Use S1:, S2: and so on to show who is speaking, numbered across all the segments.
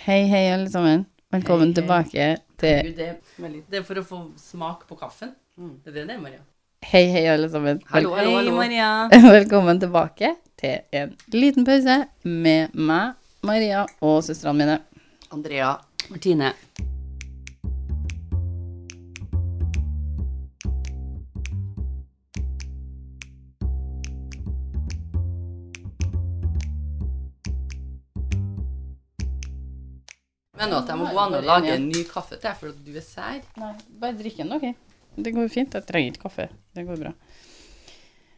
S1: Hei, hei, alle sammen. Velkommen
S2: Hei, hei.
S1: tilbake til
S2: Herregud, det, er veldig- det er for å få smak på kaffen. Det er det det er, Maria.
S1: Hei, hei, alle sammen.
S2: Mm. Hallo, hallo,
S3: Hei,
S2: hallo.
S3: Maria.
S1: Vel- Velkommen tilbake til en liten pause med meg, Maria og søstrene mine.
S2: Andrea. Martine. Men nå at jeg må gå an å lage en ny kaffe til deg for at du er sær.
S1: Nei, bare drikk den, OK? Det går fint. Jeg trenger ikke kaffe. Det går bra.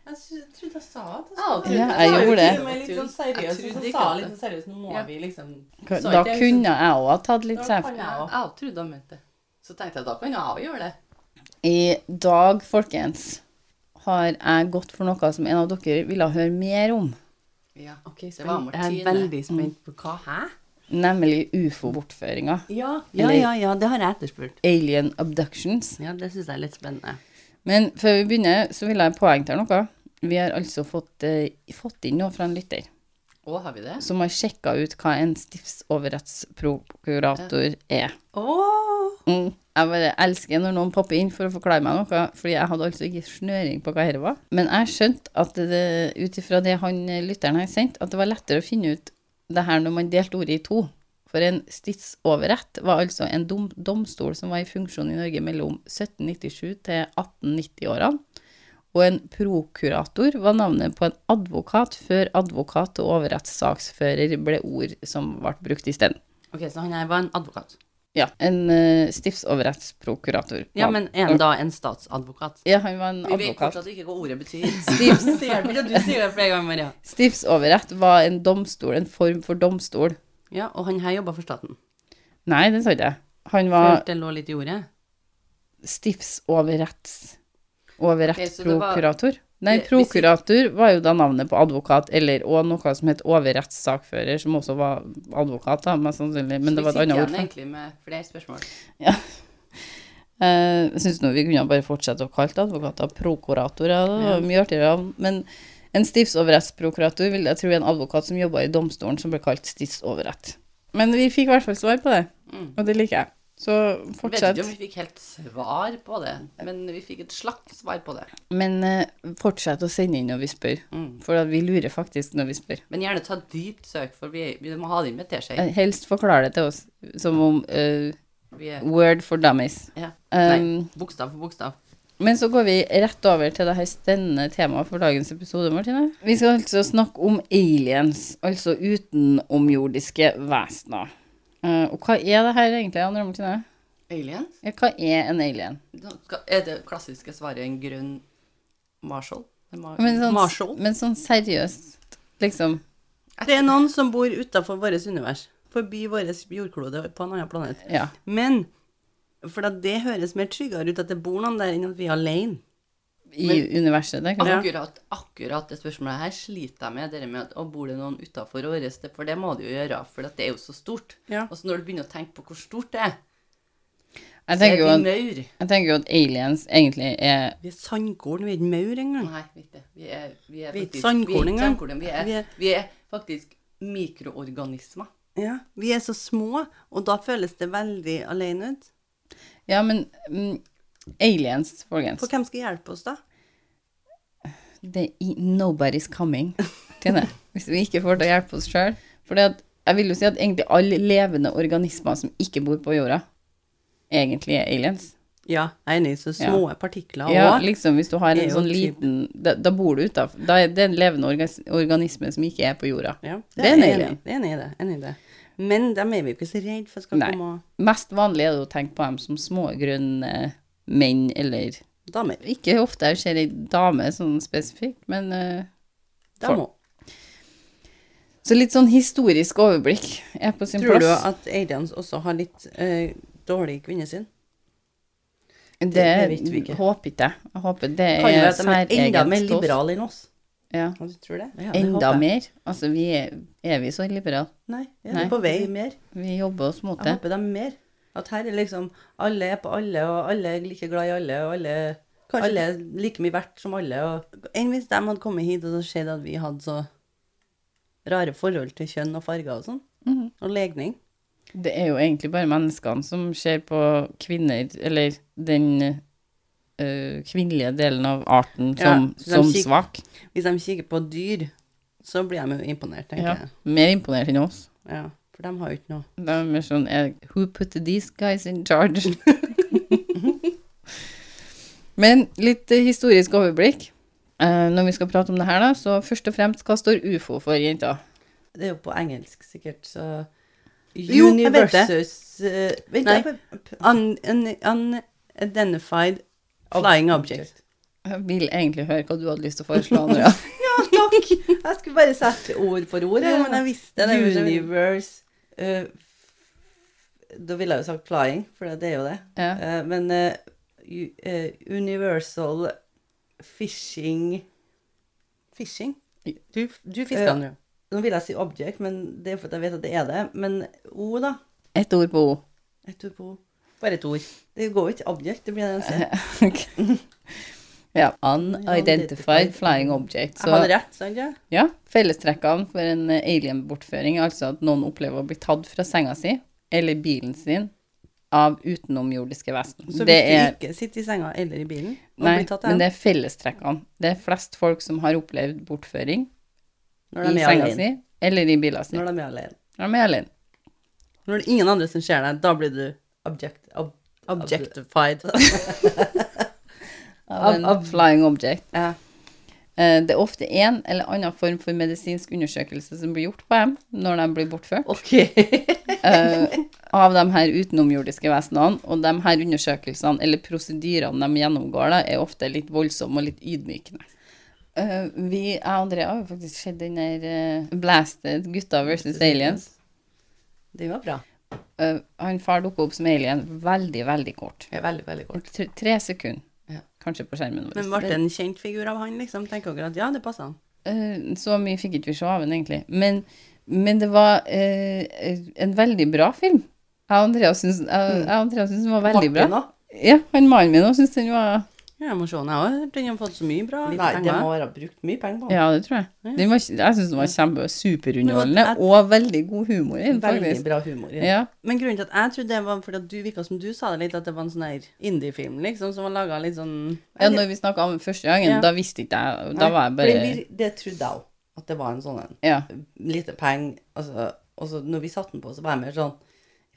S3: Jeg sy- trodde jeg sa at
S2: Ja,
S3: jeg
S2: Ah, ok.
S1: Ja, jeg
S2: sa jo
S1: gjorde
S2: ikke
S1: det.
S2: meg
S3: litt sånn
S2: Jeg
S3: seriøs, og
S2: trodde
S3: så
S2: ikke
S3: sa
S2: at
S3: jeg litt
S2: det-
S3: sånn seriøs, nå må
S2: Ja.
S3: vi liksom Så
S1: Da
S3: ikke jeg-
S1: kunne jeg òg ha tatt litt
S3: Da
S1: safe.
S3: kan jeg
S2: Ja,
S3: også.
S2: jeg trodde han mente det. Så tenkte jeg da kan jeg jo gjøre det.
S1: I dag, folkens, har jeg gått for noe som en av dere ville høre mer om.
S2: Ja, det var
S3: spent. Jeg
S2: Martine.
S3: er veldig spent på hva. Hæ?
S1: Nemlig ufo-bortføringer.
S3: Ja,
S1: ja, ja,
S2: det har jeg etterspurt.
S1: Alien abductions.
S2: Ja, det syns jeg er litt spennende.
S1: Men før vi begynner, så vil jeg poengtere noe. Vi har altså fått, eh, fått inn noe fra en lytter
S2: Å, har vi det?
S1: som har sjekka ut hva en stiftsoverrettsprokurator er.
S3: Åh!
S1: Mm. Jeg bare elsker når noen popper inn for å forklare meg noe, fordi jeg hadde altså ikke snøring på hva dette var. Men jeg skjønte at det- ut ifra det han eh, lytteren har sendt, at det var lettere å finne ut det her når man delte ordet i to. For en stidsoverrett var altså en dom domstol som var i funksjon i Norge mellom 1797 til 1890-årene. Og en prokurator var navnet på en advokat før advokat og overrettssaksfører ble ord som ble brukt isteden.
S2: Ok, Så han her var en advokat.
S1: Ja, en uh, stiftsoverrettsprokurator.
S2: Ja, men er han da en statsadvokat?
S1: Ja, han var en
S2: Vi vet
S1: advokat.
S2: fortsatt ikke hva ordet betyr.
S1: Stifts,
S2: Ser du det? Du sier det flere ganger, Maria.
S1: stiftsoverrett var en domstol, en form for domstol.
S2: Ja, Og han her jobba for staten.
S1: Nei, det sa ikke jeg. Han var
S2: Følte det lå litt i ordet.
S1: stiftsoverretts...
S2: Ok, så det var-
S1: Overrettsprokurator. Nei,
S2: Det- hvis ikke-
S1: prokurator var jo da navnet på advokat, eller og noe som het overrettssakfører, som også var advokat, da, mest sannsynlig, men det var et annet ord. for det.
S2: egentlig med flere spørsmål.
S1: Eh, Jeg syns nå vi kunne bare fortsette å kalle advokater prokuratorer, det var mye artigere. Men en stiftsoverrettsprokurator vil jeg tro er en advokat som jobba i domstolen, som ble kalt stiftsoverrett. Men vi fikk i hvert fall svar på det,
S2: Mm.
S1: og det liker jeg. Så
S2: Jeg Vet
S1: fortsett.
S2: ikke om vi fikk helt svar på det, men vi fikk et slags svar på det.
S1: Men eh, fortsett å sende inn når vi spør,
S2: Mm.
S1: for at vi lurer faktisk når vi spør.
S2: Men gjerne ta dypt søk, for vi, vi må ha det inn med teskje.
S1: Eh, Helst forklar det til oss som om eh,
S2: Vi
S3: oh,
S2: er-
S1: word for dummies.
S2: Ja.
S1: Um,
S3: eh,
S2: Nei, bokstav for bokstav.
S1: Men så går vi rett over til det her spennende temaet for dagens episode, Martine. Vi skal altså snakke om aliens, altså utenomjordiske vesener. Eh, og hva er det her egentlig, Anne Martine?
S2: Aliens?
S1: Ja, Hva er en alien?
S2: Da skal- Er det klassiske svaret en grønn Marshall? En Mar
S1: Men sånn,
S2: Marshall?
S1: men sånn seriøst, liksom.
S3: Det er noen som bor utenfor vårt univers, forbi vår jordklode på en annen planet.
S1: Ja.
S3: Men, for at det høres mer tryggere ut at det bor noen der enn at vi er alene.
S1: I universet, det kan jeg.
S2: Akkurat, akkurat det spørsmålet her sliter jeg med. Dere med at, å, bor det noen utafor året? For det må det jo gjøre, for at det er jo så stort.
S3: Ja.
S2: Og så når du begynner å tenke på hvor stort det er,
S1: Jeg
S2: så er
S1: tenker jo
S2: vi
S1: at,
S2: maur.
S1: jeg tenker jo at aliens egentlig er
S3: Vi er sandkorn, vi er ikke maur engang.
S2: Nei, vi er ikke det. Vi er, vi er
S3: Vi er ikke
S2: faktisk
S3: sandkorn
S2: vi er ikke
S3: engang.
S2: sandkorn, Vi, er-
S3: Vi er-
S2: vi er faktisk mikroorganismer.
S3: Ja, vi er så små, og da føles det veldig alene ut.
S1: Ja, men mm, aliens, folkens.
S3: For hvem skal hjelpe oss da?
S1: det i nobody's coming, Tine, hvis vi ikke får til å hjelpe oss sjøl. For jeg vil jo si at egentlig alle levende organismer som ikke bor på jorda, egentlig er aliens.
S3: Ja, jeg er enig, så små partikler
S1: Ja,
S3: også.
S1: liksom hvis du har
S3: er
S1: en
S3: jo
S1: sånn
S3: typ-
S1: liten Da, da bor du utafor. Da er det en levende orgas- organisme som ikke er på jorda.
S3: Ja,
S1: Det er en alien.
S3: enig- Det er enig i det, enig i det. Men dem er vi jo ikke så redd for skal
S1: Nei.
S3: komme og
S1: Mest vanlig er det å tenke på dem som små grønne menn eller
S3: damer.
S1: Ikke ofte jeg ser ei dame sånn spesifikt, men eh,
S3: Dem også.
S1: Så litt sånn historisk overblikk er på sin
S3: Tror du
S1: plass.
S3: at aliens også har litt eh, dårlig kvinnesyn?
S1: Det,
S3: det vet vi ikke.
S1: håper ikke jeg. Jeg håper det
S3: Kan jo
S1: er
S3: være at de er enda mer
S1: til oss.
S3: liberale enn oss.
S1: Ja.
S3: Ja, du tror det? Ja, det
S1: Enda
S3: håper jeg.
S1: mer. Altså, vi er, er vi så liberale?
S3: Nei, ja, de
S1: Nei.
S3: er på vei mer.
S1: Vi jobber oss mot
S3: Jeg
S1: det.
S3: håper de er mer. At her er liksom alle er på alle, og alle er like glad i alle, og alle,
S2: Kanskje-
S3: alle er like mye verdt som alle. Og... Enn hvis de hadde kommet hit og så sett at vi hadde så rare forhold til kjønn og farger og sånn,
S1: Mhm.
S3: og legning.
S1: Det er jo egentlig bare menneskene som ser på kvinner, eller den øh, kvinnelige delen av arten
S3: Ja,
S1: som,
S3: så de
S1: som
S3: kik-
S1: svak.
S3: Hvis de kikker på dyr, så blir de jo imponert, tenker
S1: Ja.
S3: jeg.
S1: Mer imponert enn oss.
S3: Ja, for de har jo ikke noe.
S1: Det er mer sånn er, Who put these guys in charge? Men litt eh, historisk overblikk. Eh, når vi skal prate om det her, da, så først og fremst, hva står ufo for, jenta?
S4: Det er jo på engelsk, sikkert, så
S3: Jo, jeg vet det.
S4: Universes, eh, vent,
S3: Nei.
S4: jeg bare-
S3: Un, un, unidentified flying object.
S1: Jeg vil egentlig høre hva du hadde lyst til å foreslå, Andrea.
S4: Takk! Jeg skulle bare sette ord for ord.
S3: Jo,
S4: jeg.
S3: men jeg visste det. derfor så-
S4: Universe eh, f- Da ville jeg jo sagt flying, for det er jo det.
S1: ja.
S4: Eh, men eh, u- eh, Universal Fishing
S3: Fishing. Du, du fisker
S4: Ja.
S3: den, jo.
S4: Nå vil jeg si object, men det er fordi jeg vet at det er det. Men O, da.
S1: Ett ord på O.
S4: Jeg tror på O.
S3: Bare et ord.
S4: Det går jo ikke object, det blir det eneste.
S1: Ok. ja. Unidentified flying object.
S3: Jeg hadde
S1: Så
S3: rett, sant? Ja?
S1: ja, fellestrekkene for en eh, alien-bortføring er altså at noen opplever å bli tatt fra senga si eller bilen sin av utenomjordiske vesen.
S3: Så hvis
S1: Det er
S3: du ikke sitter i senga eller i bilen og
S1: Nei,
S3: blir tatt
S1: men
S3: hen,
S1: det er fellestrekkene. Det er flest folk som har opplevd bortføring
S3: når
S1: i
S3: de er
S1: senga
S3: alene
S1: si eller i bilen sin.
S4: Når de er alene.
S1: De er alene.
S3: Når det er ingen andre som ser deg, da blir du
S4: Object. Ob
S3: objectified.
S1: Av en flying object.
S4: ja.
S1: Eh, Det er ofte en eller annen form for medisinsk undersøkelse som blir gjort på dem når de blir bortført.
S4: OK.
S1: eh, av de her utenomjordiske vesenene, og de her undersøkelsene eller prosedyrene de gjennomgår, da, er ofte litt voldsomme og litt ydmykende. Eh, vi, jeg og Andrea har jo faktisk sett den der eh, Blasted gutta versus aliens.
S4: Den var bra.
S1: Eh, han far dukka opp som alien veldig, veldig kort.
S4: Ja, veldig, veldig kort.
S1: Tre, tre sekunder,
S4: Ja.
S1: kanskje, på skjermen vår.
S3: Men ble det en kjent figur av han, liksom? Tenker dere at ja, det passer han?
S1: Eh, så mye fikk ikke vi se av den, egentlig. Men, men det var eh, en veldig bra film. Jeg og Andrea syns jeg- jeg og Andrea syns den var veldig bra.
S4: Mm. Martin også?
S1: Ja, han mannen min òg syns den var
S3: Ja, jeg må se den, jeg òg. Den har fått så mye bra
S4: Nei, det
S3: penger.
S4: må være brukt mye penger på.
S1: Ja, det tror jeg. Den var, jeg syns den var kjempe superunderholdende
S3: Men at-
S1: og veldig god humor i den,
S4: Veldig
S1: faktisk.
S4: bra humor. i den.
S1: Ja.
S3: Men grunnen til at jeg trodde det var fordi at du virka som du sa det litt, at det var en sånn her indie-film, liksom, som var laga litt sånn
S1: ja, når vi snakka om den første gangen,
S3: Ja.
S1: da visste ikke jeg Da var jeg
S4: For det
S1: bare
S4: vir- Det trodde jeg òg, at det var en sånn en.
S1: Ja.
S4: Lite penger. Altså, og så når vi satte den på, så var jeg mer sånn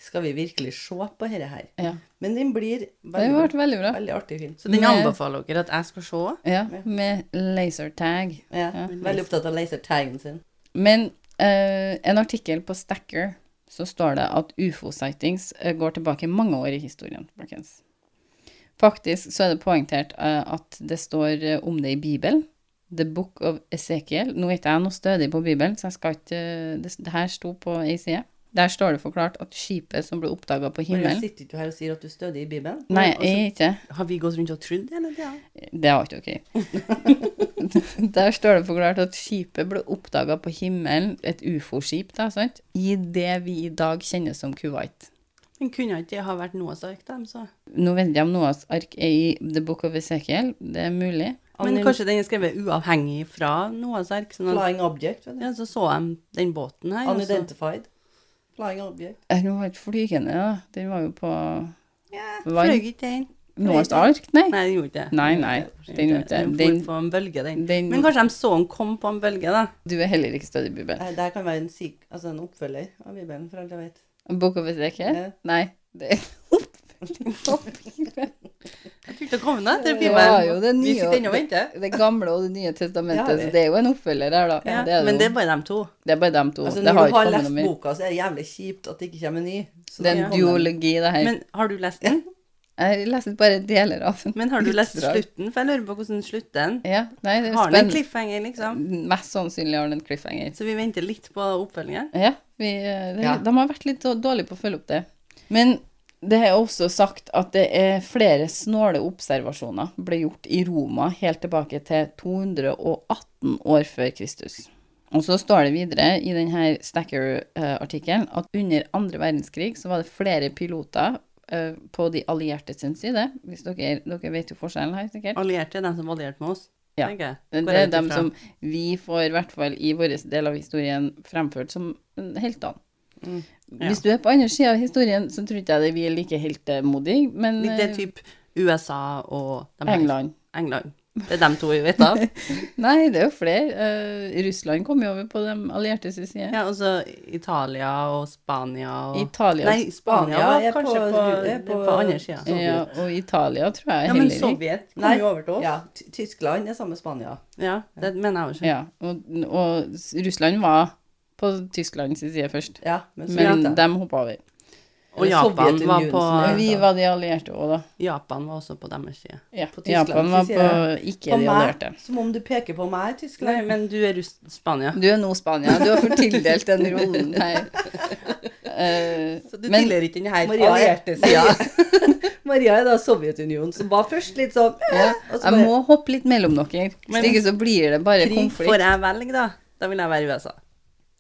S4: Skal vi virkelig se på dette her?
S1: ja.
S4: Men den blir
S1: Den
S4: veldig,
S1: ble veldig bra.
S4: veldig artig film.
S3: Så den
S1: Med-
S3: anbefaler dere at jeg skal se?
S1: Ja, med lasertag.
S4: Ja, veldig opptatt av lasertagen sin.
S1: Men eh, en artikkel på Stacker så står det at ufo-sightings eh, går tilbake mange år i historien, folkens. Faktisk så er det poengtert eh, at det står eh, om det i Bibelen. The Book of Ezekiel. Nå er ikke jeg noe stødig på Bibelen, så jeg skal ikke eh, det, det her sto på ei side. Der står det forklart at skipet som ble oppdaga
S4: Men
S1: på
S4: jeg
S1: himmelen
S4: sitter ikke her og sier at du stødig i Bibelen.
S1: Nei,
S3: og så-
S1: jeg er ikke
S3: Har vi gått rundt og trodd det hele tida?
S1: Det var ikke ok. Der står det forklart at skipet ble oppdaga på himmelen, et ufo-skip, da, sant? i det vi i dag kjenner som Kuwait.
S3: Men kunne ikke det ha vært Noahs ark, dem, så?
S1: Nå vet jeg om Noahs ark er i The Book of Ezekiel, det er mulig.
S3: Men
S4: Anonym-
S3: kanskje den er skrevet uavhengig fra Noahs ark? Sånn at,
S4: Flying object. vet du.
S3: ja, altså. så så de den båten her. og så-
S4: Unidentified. Flying object.
S1: Eh, Den var ikke flygende, da. Den var jo på
S3: Ja,
S1: Vann.
S3: fløy ikke den?
S1: Noahs ark, nei.
S3: Nei, den gjorde ikke det.
S1: Nei, nei. Den gjorde ikke det.
S3: Den
S1: Den,
S3: for på en bølge, den.
S1: den,
S3: Men kanskje de så den kom på en bølge, da.
S1: du er heller ikke stødig i Bibelen.
S4: Nei, Det her kan være en, syk, altså en oppfølger av Bibelen, for alt jeg vet.
S1: Book of Ezekiel?
S4: Ja.
S1: Nei. Det
S3: Jeg tror ikke det kom noe etter
S1: Det
S3: Bibelen.
S1: var jo det nye-
S3: Vi sitter ennå og venter.
S1: det gamle og Det nye
S4: Ja,
S1: testamentet,
S4: det-
S1: så det er jo en oppfølger der, da.
S3: Ja,
S1: det, er
S3: men
S1: jo,
S3: det er bare de to.
S1: det er bare dem to.
S4: Altså,
S1: det
S4: når
S1: har
S4: du
S1: ikke
S4: har
S1: kommet
S4: lest
S1: noe mer.
S4: boka, så er det jævlig kjipt at det ikke kommer en ny. Så
S1: Det er
S4: da
S1: en
S4: kan man-
S1: duologi, det her.
S3: Men har du lest den?
S1: jeg leser bare deler av den.
S3: Men har du lest
S1: Utdrag.
S3: slutten? For jeg lurer på hvordan slutter den.
S1: Ja, nei, det er
S3: Har den en
S1: spennende.
S3: cliffhanger, liksom?
S1: Mest sannsynlig har den en cliffhanger.
S3: Så vi venter litt på oppfølgingen.
S1: Ja, vi, eh, det,
S4: Ja.
S1: De har vært litt dårlige på å følge opp det. Men det er også sagt at det er flere snåle observasjoner ble gjort i Roma helt tilbake til 218 år før Kristus. Og så står det videre i denne Stacker-artikkelen at under andre verdenskrig så var det flere piloter eh, på de allierte sin side. Hvis dere, dere vet jo forskjellen her, sikkert.
S3: Allierte er de som var alliert med oss.
S1: Ja.
S3: tenker jeg.
S1: Det
S3: Går jeg
S1: er
S3: ut
S1: dem
S3: ifra.
S1: som vi får, i hvert fall i vår del av historien, fremført som heltene.
S2: Ja.
S1: Hvis du er på andre sida av historien, så tror ikke jeg det vi er like heltemodige, men
S2: Litt det
S1: eh,
S2: type USA og de her.
S1: England
S2: England. Det er dem to vi vet av.
S1: Nei, det er jo flere. Eh, Russland kom jo over på de allierte sin side.
S2: Ja, og så Italia og Spania og
S1: Italia
S2: Nei, Spania
S3: Spania
S2: var
S3: er
S2: kanskje
S3: på-
S2: på,
S3: er
S2: på,
S3: på-
S2: andre sida.
S3: Sovjet.
S1: ja, og Italia tror jeg
S3: Ja, men
S1: heller ikke.
S3: Sovjet kom
S5: Nei.
S3: jo over til oss.
S5: Ja, Ty- Tyskland er samme Spania.
S2: Ja, det mener jeg også.
S1: Ja, og, og s- Russland var på Tysklands side først,
S5: Ja, men så
S1: men
S5: lite.
S1: de hoppa over.
S2: Og Japan
S5: Sovjetunionen
S2: var, på,
S5: som er-
S1: Vi var de allierte òg, da.
S2: Japan var også på deres side.
S1: Ja,
S5: På Tysklands
S1: Japan var
S5: side.
S1: på ikke
S5: På
S1: de
S5: meg,
S1: allierte.
S5: Som om du peker på meg, Tyskland.
S2: Nei, men du er russ Spania.
S1: Du er nå Spania. Du har fått tildelt den rollen her. Eh,
S3: Så du
S1: Men-
S3: tilhører ikke den her
S5: Maria er-
S3: allierte sida. Maria er da Sovjetunionen, som var først litt sånn eh,
S1: ja,
S3: og så
S1: jeg
S3: bare-
S1: må hoppe litt mellom dere,
S2: Men-
S1: hvis ikke så blir det bare
S2: Krig
S1: konflikt.
S2: får jeg velge, da. Da vil jeg være i USA.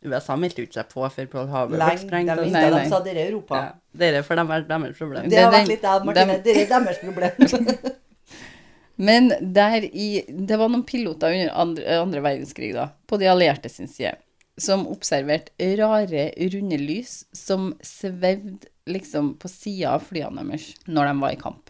S2: USA meldte jo ikke seg på før Pearl Harbor ble
S3: «Øh, Lenge,
S2: sprengt.
S3: de,
S2: og-
S1: Nei,
S3: nei,
S1: nei.
S3: de sa dere er Europa.
S2: Ja, Dere, for de er deres problem.
S1: Det
S3: Det har
S1: er den-
S3: vært litt av Martine.
S1: dem-
S3: Dere er deres problem.
S1: Men der i Det var noen piloter under andre, andre verdenskrig, da, på de allierte sin side, som observerte rare, runde lys som svevde liksom på sida av flyene deres når de var i kamp.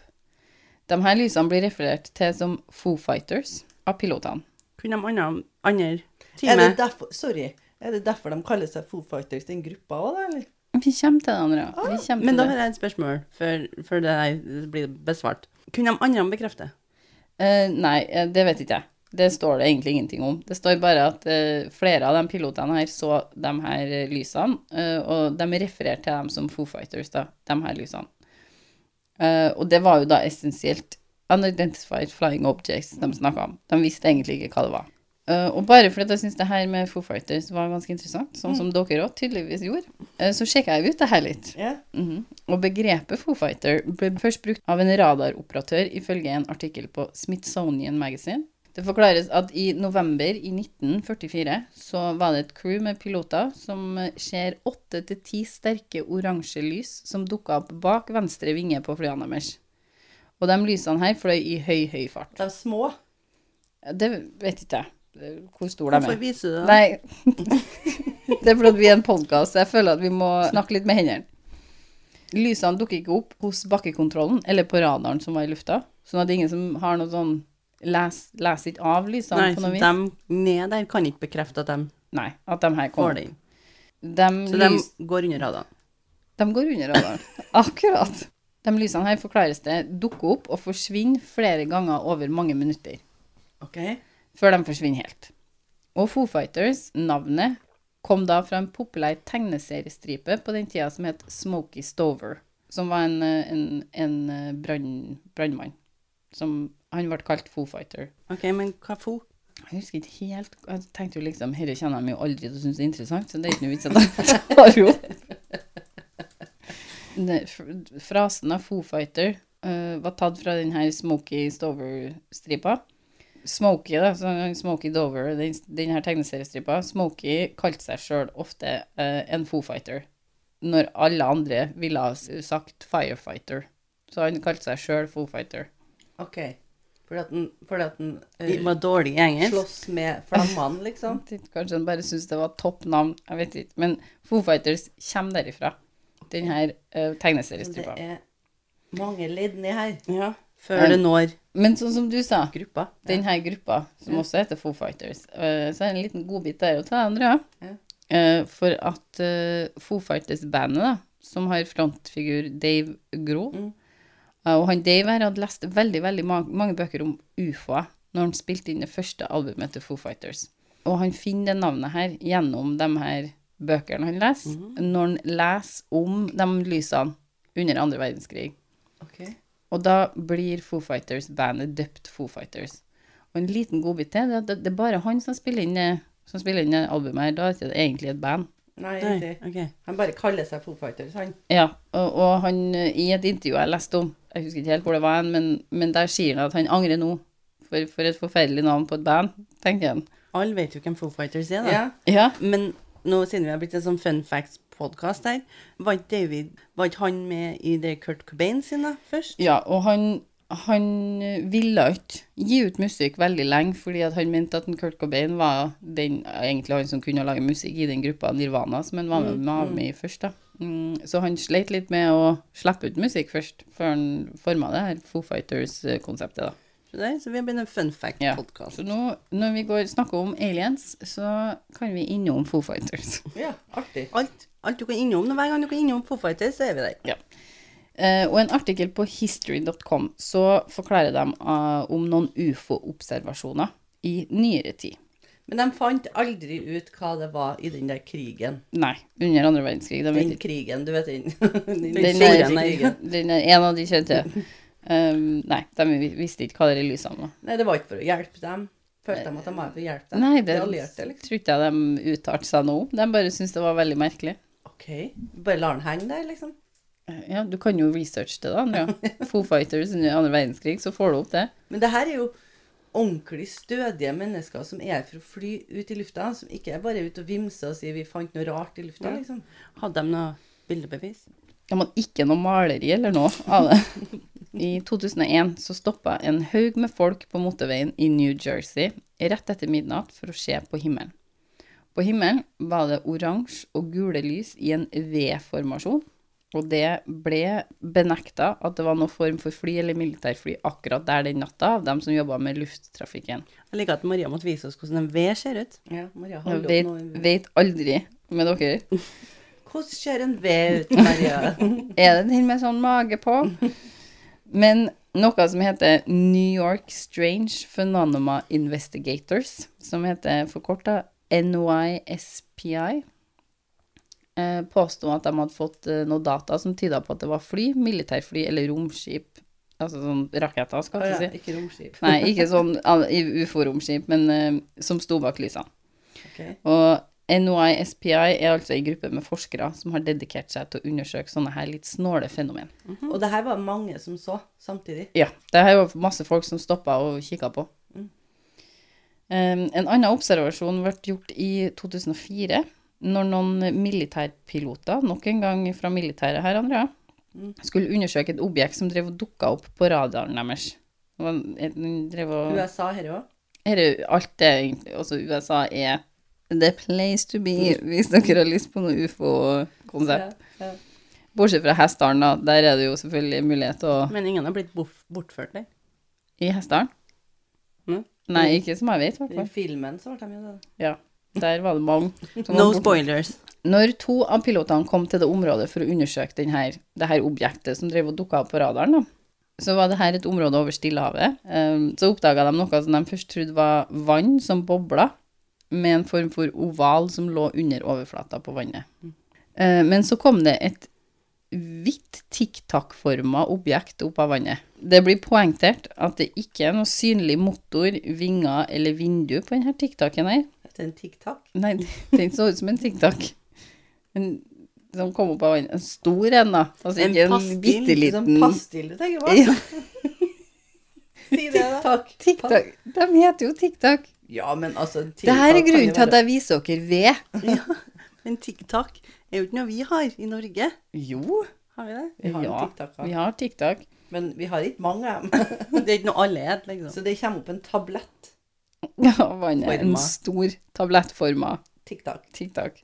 S1: De her lysene blir referert til som Foo Fighters av pilotene.
S2: Kunne de andre, andre
S3: Er det
S2: time
S3: derfor, sorry. Er det derfor de kaller seg Foo Fighters, den gruppa òg, da? eller?
S1: Vi kommer til det, Andrea.
S3: Ah,
S1: Vi kommer
S2: Men
S1: til
S2: da
S1: det.
S2: har jeg et spørsmål før, før det her blir besvart. Kunne de andre bekrefte?
S1: Eh, nei, eh, det vet ikke jeg. Det står det egentlig ingenting om. Det står bare at eh, flere av de pilotene her så de her eh, lysene, eh, og de refererte til dem som Foo Fighters, da, de her lysene. Eh, og det var jo da essensielt Unidentified Flying Objects de snakka om. De visste egentlig ikke hva det var. Eh, og bare fordi jeg syns det her med Foo Fighters var ganske interessant, sånn som dere òg tydeligvis gjorde, eh, så sjekka jeg ut det her litt.
S3: Ja.
S1: Mhm. Og begrepet Foo Fighter ble først brukt av en radaroperatør ifølge en artikkel på Smithsonian Magazine. Det forklares at i november i 1944 så var det et crew med piloter som eh, ser åtte til ti sterke oransje lys som dukka opp bak venstre vinge på flyene deres. Og de lysene her fløy i høy, høy fart.
S3: De små.
S1: Det vet ikke jeg eh, hvor store de
S2: Hvorfor
S1: er.
S2: viser du det? da?
S1: Nei. det er fordi at vi er en podkast, så jeg føler at vi må snakke litt med hendene. Lysene dukker ikke opp hos bakkekontrollen eller på radaren som var i lufta. Sånn at det er ingen som har noe sånn Les, les ikke av lysene
S2: Nei,
S1: på
S2: så
S1: noe vis.
S2: de ned der kan ikke bekrefte at de
S1: Nei, at de her
S2: får
S1: kommer.
S2: det inn.
S1: De,
S2: Så de
S1: lys,
S2: går under radaren.
S1: de går under radaren. Akkurat. De lysene her forklares det dukker opp og forsvinner flere ganger over mange minutter.
S3: Ok.
S1: før de forsvinner helt. Og Foo Fighters, navnet, kom da fra en populær tegneseriestripe på den tida som het Smokey Stover, som var en, eh, en, en eh, brann- brannmann. Som han ble kalt Foo Fighter.
S2: Ok, men hva for?
S1: Jeg husker ikke helt Jeg tenkte jo liksom Dette kjenner de jo aldri til å synes er interessant, så det er ikke noe vits at jeg tar jo Frasen av Foo Fighter eh, var tatt fra den her Smokey Stover-stripa. Smokey, da, så Smokey Dover, den, den her tegneseriestripa, Smokey kalte seg sjøl ofte eh, en Foo Fighter. Når alle andre ville ha s- sagt Firefighter. Så han kalte seg sjøl Foo Fighter.
S3: ok. Fordi at den, fordi at den
S2: De
S3: eh,
S2: var dårlige i engelsk.
S3: slåss med flammene, liksom.
S1: Sant? Kanskje han bare syntes det var topp navn, jeg vet ikke. Men Foo Fighters kommer derifra. Den her uh,
S3: Men det
S1: tegneseriestripa.
S3: er mange ledd ned her.
S2: Ja. Før det når
S1: Men sånn som du sa,
S2: gruppa.
S1: den her gruppa, som også heter Foo Fighters, eh, så er det en liten godbit der å ta, Andrea.
S3: Ja.
S1: Eh, for at eh, Foo Fighters-bandet, da, som har frontfigur Dave Grohl
S3: Mm.
S1: eh, Og han Dave her hadde lest veldig, veldig ma mange bøker om ufoer når han spilte inn det første albumet til Foo Fighters. Og han finner det navnet her gjennom de her bøkene han leser,
S3: Mm.
S1: når han leser om de lysene under andre verdenskrig.
S3: Ok.
S1: Og da blir Foo Fighters bandet døpt Foo Fighters. Og en liten godbit til det er at det- det er bare han som spiller inn, eh, som spiller inn det albumet her. Da er det ikke egentlig et band.
S3: Nei,
S2: Nei,
S3: det-
S2: ok.
S3: han bare kaller seg Foo Fighters, han.
S1: Ja, og, og han eh, i et intervju jeg leste om, jeg husker ikke helt hvor det var, hen, men, men der sier han at han angrer nå. For, for et forferdelig navn på et band, tenker han.
S2: Alle vet jo hvem Foo Fighters er, da.
S3: Ja.
S1: Ja,
S2: Men nå, siden vi har blitt en sånn fun facts-podkast her, var ikke David Var ikke han med i det Kurt Cobain sine først?
S1: ja og han, han eh, ville ikke gi ut musikk veldig lenge, fordi at han mente at en Kurt Cobain var den, egentlig han som kunne lage musikk i den gruppa Nirvana, som han var med, med, med i først. da. Mm, så han sleit litt med å slippe ut musikk først, før han forma det her Foo Fighters-konseptet. da.
S3: Skjønner jeg? Så vi har begynt en fun
S1: Ja.
S3: fact-podkast.
S1: Så nå, når vi går, snakker om aliens, så kan vi innom Foo Fighters.
S2: Ja, artig.
S3: Alt, alt du kan innom, hver gang du kan innom Foo Fighters, så er vi der.
S1: Eh, og en artikkel på history.com så forklarer de eh, om noen ufo-observasjoner i nyere tid.
S3: Men de fant aldri ut hva det var i den der krigen.
S1: Nei, under andre verdenskrig. De vet
S3: Den
S1: ikke.
S3: krigen, du vet den. Den,
S1: Den
S3: store
S1: er,
S3: krigen.
S1: den er en av de kjente. Um, nei, de vi- visste ikke hva de lysene var.
S3: Nei, det var ikke for å hjelpe dem. Følte de at de var for å hjelpe dem?
S1: Nei,
S3: De
S1: det
S3: allierte, liksom.
S1: tror ikke jeg de uttalte seg noe om. De bare syntes det var veldig merkelig.
S3: OK. Bare lar den henge der, liksom.
S1: Eh, Ja, du kan jo researche det, da, Andrea. Foo Fighters under andre verdenskrig, så får du opp det.
S3: Men det her er jo ordentlig stødige mennesker som er her for å fly ut i lufta. Som ikke er bare ute og vimse og si 'vi fant noe rart i lufta', liksom. Hadde de noe bildebevis?
S1: Ja, men ikke noe maleri eller noe av det. I 2001 så stoppa en haug med folk på motorveien i New Jersey rett etter midnatt for å se på himmelen. På himmelen var det oransje og gule lys i en V-formasjon, og det ble benekta at det var noen form for fly eller militærfly akkurat der den natta av dem som jobba med lufttrafikken.
S3: Jeg liker at Maria måtte vise oss hvordan en ved ser ut. Ja, Maria,
S1: Jeg
S3: hold opp
S1: vet,
S3: nå. en ved.
S1: vet aldri med dere.
S3: Hvordan ser en ved ut, Maria?
S1: Er det den med sånn mage på? Men noe som heter New York Strange Phenomena Investigators, som heter forkorta NYSPI, eh, påsto at de hadde fått eh, noe data som tyda på at det var fly, militærfly eller romskip. Altså sånn raketter, skal
S3: Å
S1: jeg
S3: ja,
S1: si.
S3: ikke romskip.
S1: Nei, ikke sånn ah, ufo-romskip, men eh, som sto bak lysene.
S3: Ok.
S1: Og NYSPI er altså en gruppe med forskere som har dedikert seg til å undersøke sånne her litt snåle fenomen.
S3: Og det her var mange som så samtidig.
S1: Ja, det her var masse folk som stoppa og kikka på. Um, en annen observasjon ble gjort i 2004, når noen militærpiloter, nok en gang fra militæret her, Andrea, skulle undersøke et objekt som drev og dukka opp på radaren deres. Det var en- den drev og...
S3: USA her òg.
S1: Her er jo alt det egentlig Altså, USA er the place to be hvis dere har lyst på noe
S3: Sånn
S1: ufo-konsept.
S3: Ja, ja.
S1: Bortsett fra Hessdalen, da. Der er det jo selvfølgelig mulighet til å
S3: Men ingen har blitt bof- bortført der.
S1: I Hessdalen?
S3: Mm.
S1: Nei, ikke som jeg vet, i hvert
S3: I
S1: fall.
S3: filmen så ble de jo det.
S1: Ja. Der var det mange. som var
S3: No
S1: borte.
S3: spoilers.
S1: Når to av pilotene kom til det området for å undersøke den her, det her objektet som drev og dukka opp på radaren, da, så var det her et område over Stillehavet. Ehm, så oppdaga de noe som de først trodde var vann som bobla, med en form for oval som lå under overflata på vannet. Ehm, men så kom det et hvitt tiktak-forma objekt opp av vannet. Det blir poengtert at det ikke er noe synlig motor, vinger eller vindu på denne tiktaken her.
S3: Etter en TikTok.
S1: Nei, den så ut som en TikTok. En som kom opp av en, en stor en, da. Altså ikke en bitte liten
S3: Sånn pastill, du tenker på?
S1: ja,
S3: Si det, da. TikTok.
S1: TikTok. De heter jo TikTok.
S3: Ja, men altså TikTok
S1: Det her er
S3: kan jo
S1: grunnen til at
S3: være-
S1: jeg viser dere ved.
S3: Men TikTok er jo ikke noe vi har i Norge.
S1: Jo,
S3: Har vi det? Vi har
S1: ja,
S3: en TikTok,
S1: vi har TikTok.
S3: Men vi har ikke mange. det er ikke noe alle et, liksom. Så det kommer opp en tablett
S1: Ja, vannet. En
S3: Forma.
S1: stor tablettforma
S3: TikTok.
S1: TikTok.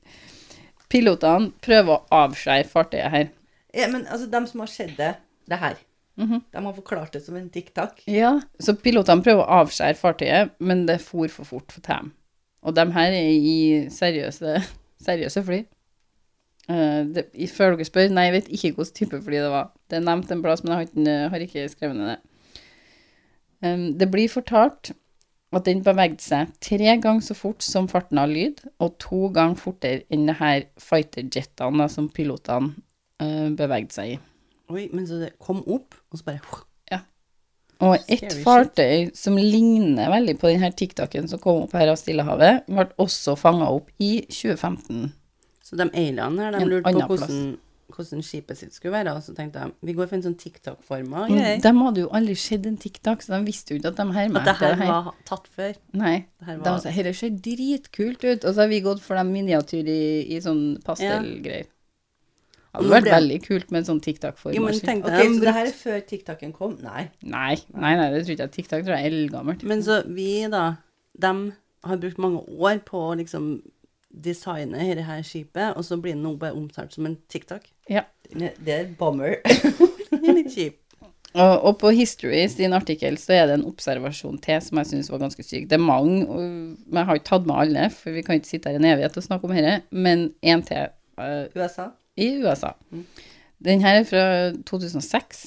S1: Pilotene prøver å avskjære fartøyet her.
S3: Ja, men altså, dem som har sett det, det her,
S1: Mhm.
S3: de har forklart det som en TikTok.
S1: Ja, så pilotene prøver å avskjære fartøyet, men det for for fort for dem. Og de her er i seriøse, seriøse fly. Eh, det, i- før dere spør, nei, jeg vet ikke hvilken type fly det var. Det er nevnt en plass, men jeg har ikke, har ikke skrevet ned det. Em, det blir fortalt at den bevegde seg tre ganger så fort som farten av lyd, og to ganger fortere enn det her fighterjetene da, som pilotene eh, bevegde seg i.
S3: Oi, men så det kom opp, og så bare
S1: Og
S3: Scary
S1: et
S3: shit.
S1: fartøy som ligner veldig på denne TikTok-en som kom opp her av Stillehavet, ble også fanga opp i 2015.
S3: Så de alienene her, de
S1: En
S3: lurte på
S1: annen
S3: hvordan, hvordan skipet sitt skulle være, og så tenkte de, vi går for en sånn TikTok-forma
S1: Mm,
S3: greie.
S1: De hadde jo aldri sett en TikTok, så de visste jo ikke at de hermet
S3: At det her
S1: her.
S3: var tatt før.
S1: Nei.
S3: Det her
S1: De
S3: var...
S1: sa dette ser dritkult ut, og så har vi gått for de miniatyr i, i sånn pastellgreier. hadde vært
S3: Det-
S1: veldig kult med en sånn
S2: Jo, men
S1: TikTok-formaskin.
S2: tenk
S3: Ok,
S2: deg
S3: Så det
S2: brukt-
S3: her er før TikTok-en kom? Nei.
S1: Nei, nei, nei, det tror ikke jeg. TikTok tror jeg er eldgammelt.
S2: Men så vi, da, de har brukt mange år på å liksom designe dette her skipet, og så blir det nå bare omtalt som en TikTok.
S1: Ja.
S3: Det det er bummer.
S2: Det er litt kjipt.
S1: Og, og på History sin artikkel så er det en observasjon til som jeg syns var ganske syk. Det er mange, og, men jeg har ikke tatt med alle, for vi kan ikke sitte her en evighet og snakke om dette, men én til eh,
S3: USA.
S1: i USA.
S3: Mm.
S1: Den her er fra 2006,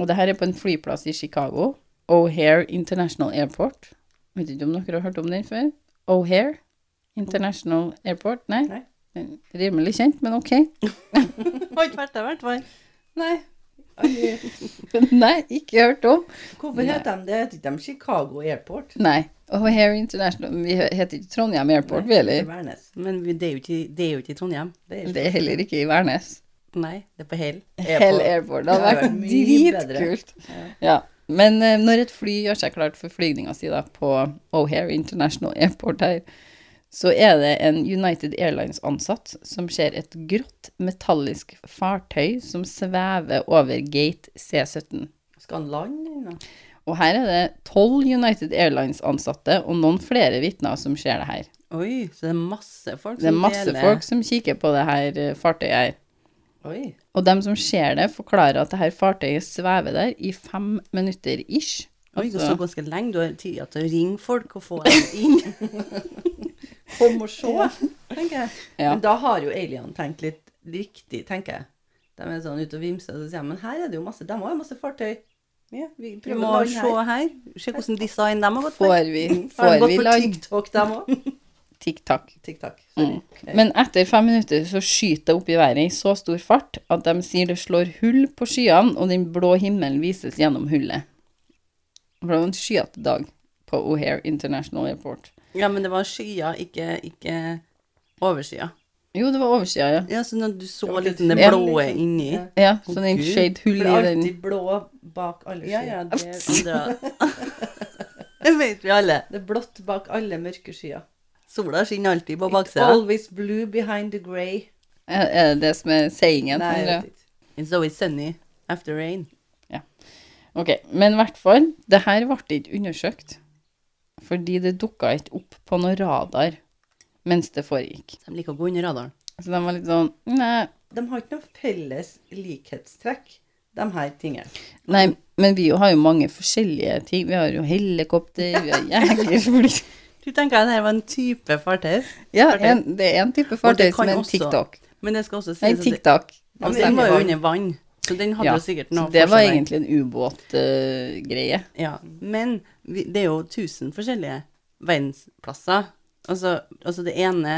S1: og det her er på en flyplass i Chicago. O'Hare International Airport. Vet ikke om dere har hørt om den før? O'Hare International Airport? Nei.
S3: Nei.
S1: Den er Rimelig kjent, men ok.
S2: Har ikke vært der, i hvert fall.
S3: Nei. Aldri.
S1: Nei, ikke hørt om.
S3: Hvorfor heter de det? Heter ikke de Chicago Airport?
S1: Nei. O'Hare International Vi heter ikke Trondheim Airport, vi
S3: Det
S1: heller.
S3: er Værnes.
S2: Men vi, det, er jo ikke, det er jo ikke i Trondheim.
S3: Det er
S1: Det er heller ikke i Værnes.
S2: Nei, det er på Hell.
S1: Hell Airport. Det hadde
S3: Det hadde
S1: vært
S3: vært mye bedre.
S1: dritkult. Ja. Men eh, når et fly gjør seg klart for flygninga si da, på O'Hare International Airport her, så er det en United Airlines-ansatt som ser et grått, metallisk fartøy som svever over gate C17.
S3: Skal han lande ennå?
S1: Og her er det tolv United Airlines-ansatte og noen flere vitner som ser det her.
S2: Oi, så det er masse folk
S1: Det er
S2: som
S1: masse folk som kikker på det her eh, fartøyet her.
S3: Oi.
S1: Og dem som ser det, forklarer at det her fartøyet svever der i fem minutter ish.
S2: Oi, det
S1: Altså-
S2: står ganske lenge. Du har tid til å ringe folk og få dem inn.
S3: Kom og se, tenker jeg.
S1: Ja.
S3: Men da har jo alienene tenkt litt riktig, tenker jeg. De er sånn ute og vimser og så sier jeg, men her er det jo masse, de har jo masse fartøy.
S2: Ja,
S3: vi
S2: Du
S3: prøver
S2: må
S3: å lande
S2: se her. Se hvordan design de har gått for.
S1: Får vi,
S3: Har de
S1: får
S3: gått
S1: vi
S3: for
S1: land?
S3: TikTok, dem òg?
S1: TikTok.
S3: TikTok.
S1: Mm.
S3: Sorry.
S1: Men etter fem minutter så skyter det opp i været i så stor fart at de sier det slår hull på skyene, og den blå himmelen vises gjennom hullet. For det var en skyete dag på O'Hare International Airport.
S2: Ja, men det var skyer, ikke, ikke overskyer.
S1: Jo, det var overskya, ja.
S2: Ja, så når du så
S3: var
S2: litt
S3: litt
S2: det
S1: Ja.
S2: blåe inni.
S3: Ja.
S1: Ja, så den
S2: Gud.
S1: skjøt
S3: For
S1: hull
S3: det
S1: i
S3: er
S1: den.
S3: alltid blå bak alle skyer.
S2: Ja, ja, det andre Det vet vi alle.
S3: Det er blått bak alle mørke skyer.
S2: Sola skinner alltid på
S3: It's
S2: baksida.
S3: always blue behind the grey.
S1: Er er det det som er sayingen?
S3: Nei, jeg
S1: eller?
S3: vet ikke.
S2: It's always sunny after rain.
S1: Ok, men i hvert fall, det her ble ikke undersøkt. Fordi det dukka ikke opp på noen radar mens det foregikk.
S2: De liker å gå under radaren.
S1: Så de var litt sånn Nei,
S3: De har ikke noe felles likhetstrekk, de her tingene.
S1: nei men vi jo har jo mange forskjellige ting. Vi har jo helikopter, vi har jegerfly
S2: Du tenker at dette var en type fartøy,
S1: Ja, en, det er en type fartøy
S2: kan
S1: som er en
S2: også-
S1: TikTok.
S2: men det skal også
S1: Nei,
S2: sies at det-
S1: TikTok.
S2: Ja, men
S1: Altså,
S2: den var jo
S1: ja.
S2: under vann, så den hadde
S1: Ja,
S2: jo sikkert
S1: så
S2: noe
S1: det
S2: for
S1: var
S2: seg der.
S1: egentlig en eh, ubåtgreie.
S2: Ja, men vi, det er jo tusen forskjellige verdensplasser. Altså, altså det ene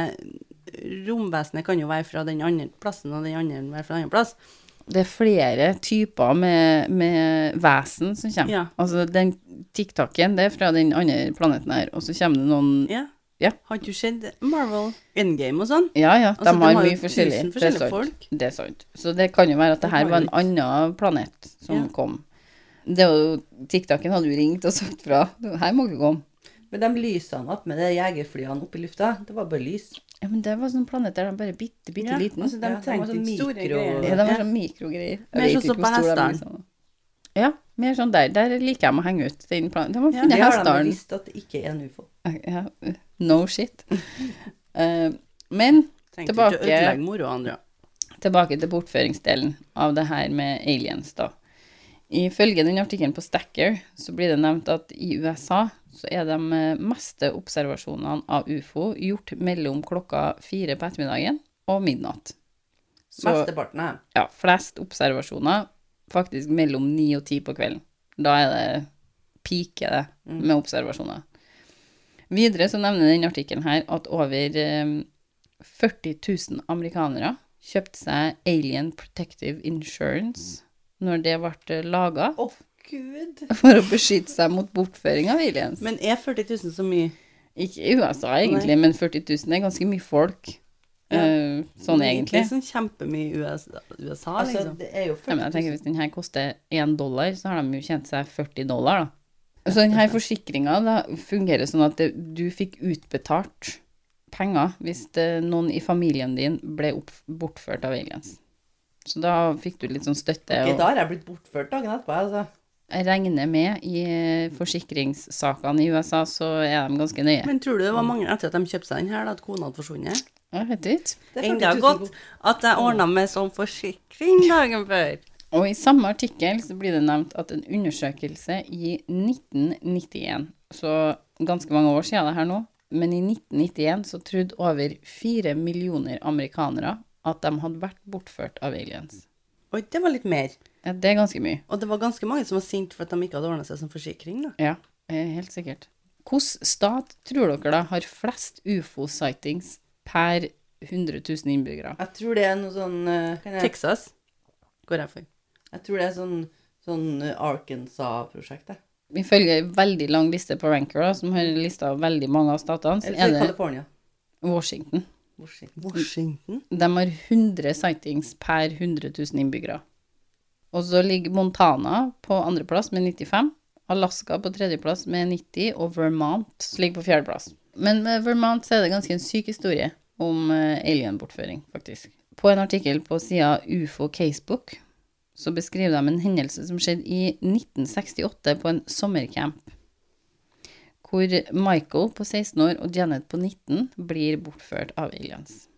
S2: romvesenet kan jo være fra den andre plassen, og den andre være fra den andre plass.
S1: det er flere typer med, med vesen som kommer.
S2: Ja.
S1: Altså, den TikTok-en, det er fra den andre planeten her, og så kommer det noen
S2: Ja.
S1: Ja.
S2: Har ikke du sett Marvel Endgame og sånn?
S1: Ja, ja, de
S2: Altså, de
S1: har
S2: har jo
S1: mye forskjellig.
S2: tusen
S1: Det er
S2: forskjellige
S1: sant.
S2: folk.
S1: Det er sant. Så det kan jo være at det her
S2: har
S1: var
S2: jo
S1: en annen planet som
S2: Ja.
S1: kom. Det var jo, TikTok-en hadde jo ringt og sagt fra. Her må ikke komme.
S3: Men de lysene opp med de jegerflyene oppe i lufta, det var bare lys.
S1: Ja, men det var sånn planet der de bare bitte, bitte
S2: Ja,
S1: liten.
S3: altså, de
S2: Ja,
S3: trengte
S2: var sånn
S3: ikke store greier.
S1: ja, de var sånn mikrogreier. Jeg
S2: Mer
S1: vet
S2: sånn
S1: ikke
S2: som
S1: hvor
S2: på
S1: stor de er,
S2: Hestdalen.
S1: liksom. Ja, mer sånn der. Der liker jeg å henge ut. Den planen. De har
S2: Ja,
S1: funnet
S3: Det har de
S1: Hestdalen.
S3: visst at det ikke er en ufo.
S1: Ja, no shit. Eh, men
S2: Trengte
S1: Tilbake.
S2: ikke å ødelegge moro andre.
S1: tilbake til bortføringsdelen av det her med aliens, da. Ifølge den artikkelen på Stacker så blir det nevnt at i USA så er de eh, meste observasjonene av ufo gjort mellom klokka fire på ettermiddagen og midnatt. Så
S3: Mesteparten av dem.
S1: ja, flest observasjoner faktisk mellom ni og ti på kvelden. Da er det piker det
S2: Mm.
S1: med observasjoner. Videre så nevner den artikkelen her at over eh, 40 000 amerikanere kjøpte seg Alien Protective Insurance
S2: Mm.
S1: når det ble laga,
S3: Å, gud!
S1: for å beskytte seg mot bortføring av aliens.
S2: Men er 40 000 så mye?
S1: Ikke i USA egentlig, men 40 000 er ganske mye folk.
S2: Ja.
S1: eh, sånn egentlig.
S2: Det er sånn kjempemye i USA, USA
S3: Altså,
S2: liksom.
S3: det er jo
S1: Ja, men jeg
S3: 40
S1: tenker Hvis den her koster 1 dollar, så har de jo tjent seg 40 dollar, da. Så den her forsikringa fungerer sånn at det, du fikk utbetalt penger hvis det, noen i familien din ble opp, bortført av aliens. Så da fikk du litt sånn støtte.
S3: Ok,
S1: og-
S3: da har jeg blitt bortført dagen etterpå, altså.
S1: Jeg regner med i forsikringssakene i USA, så er de ganske nøye.
S2: Men tror du det var mange etter at de kjøpte seg den her, da, at kona hadde forsvunnet?
S1: Jeg vet ikke.
S3: Det er
S2: Enda
S3: 40 000
S2: godt
S3: kro-
S2: at jeg ordna med sånn forsikring dagen før.
S1: Og i samme artikkel så blir det nevnt at en undersøkelse i 1991, så ganske mange år siden det her nå, men i 1991 så trodde over fire millioner amerikanere at de hadde vært bortført av aliens.
S2: Oi, det var litt mer.
S1: Ja, Det er ganske mye.
S2: Og det var ganske mange som var sinte for at de ikke hadde ordna seg som forsikring, da.
S1: Ja, eh, helt sikkert. Hvilken stat tror dere da har flest ufo-sightings per 100 000 innbyggere?
S3: Jeg tror det er noe sånn eh, kan jeg,
S2: Texas går jeg for.
S3: jeg tror det er sånn, sånn eh, Arkansas-prosjekt, jeg.
S1: Ifølge en veldig lang liste på Ranker, da, som har lista av veldig mange av statene, så
S3: Eller
S1: er
S3: så er det
S1: det
S3: California.
S1: Washington.
S3: Hvor shit.
S2: Washington?
S1: De har 100 sightings per 100 000 innbyggere. Og så ligger Montana på andreplass med 95, Alaska på tredjeplass med 90, og Vermont ligger på fjerdeplass. Men med Vermont så er det ganske en syk historie om eh, alienbortføring, faktisk. På en artikkel på sida UFO Casebook så beskriver de en hendelse som skjedde i 1968 på en sommercamp, hvor Michael på 16 år og Janet på 19 blir bortført av aliens.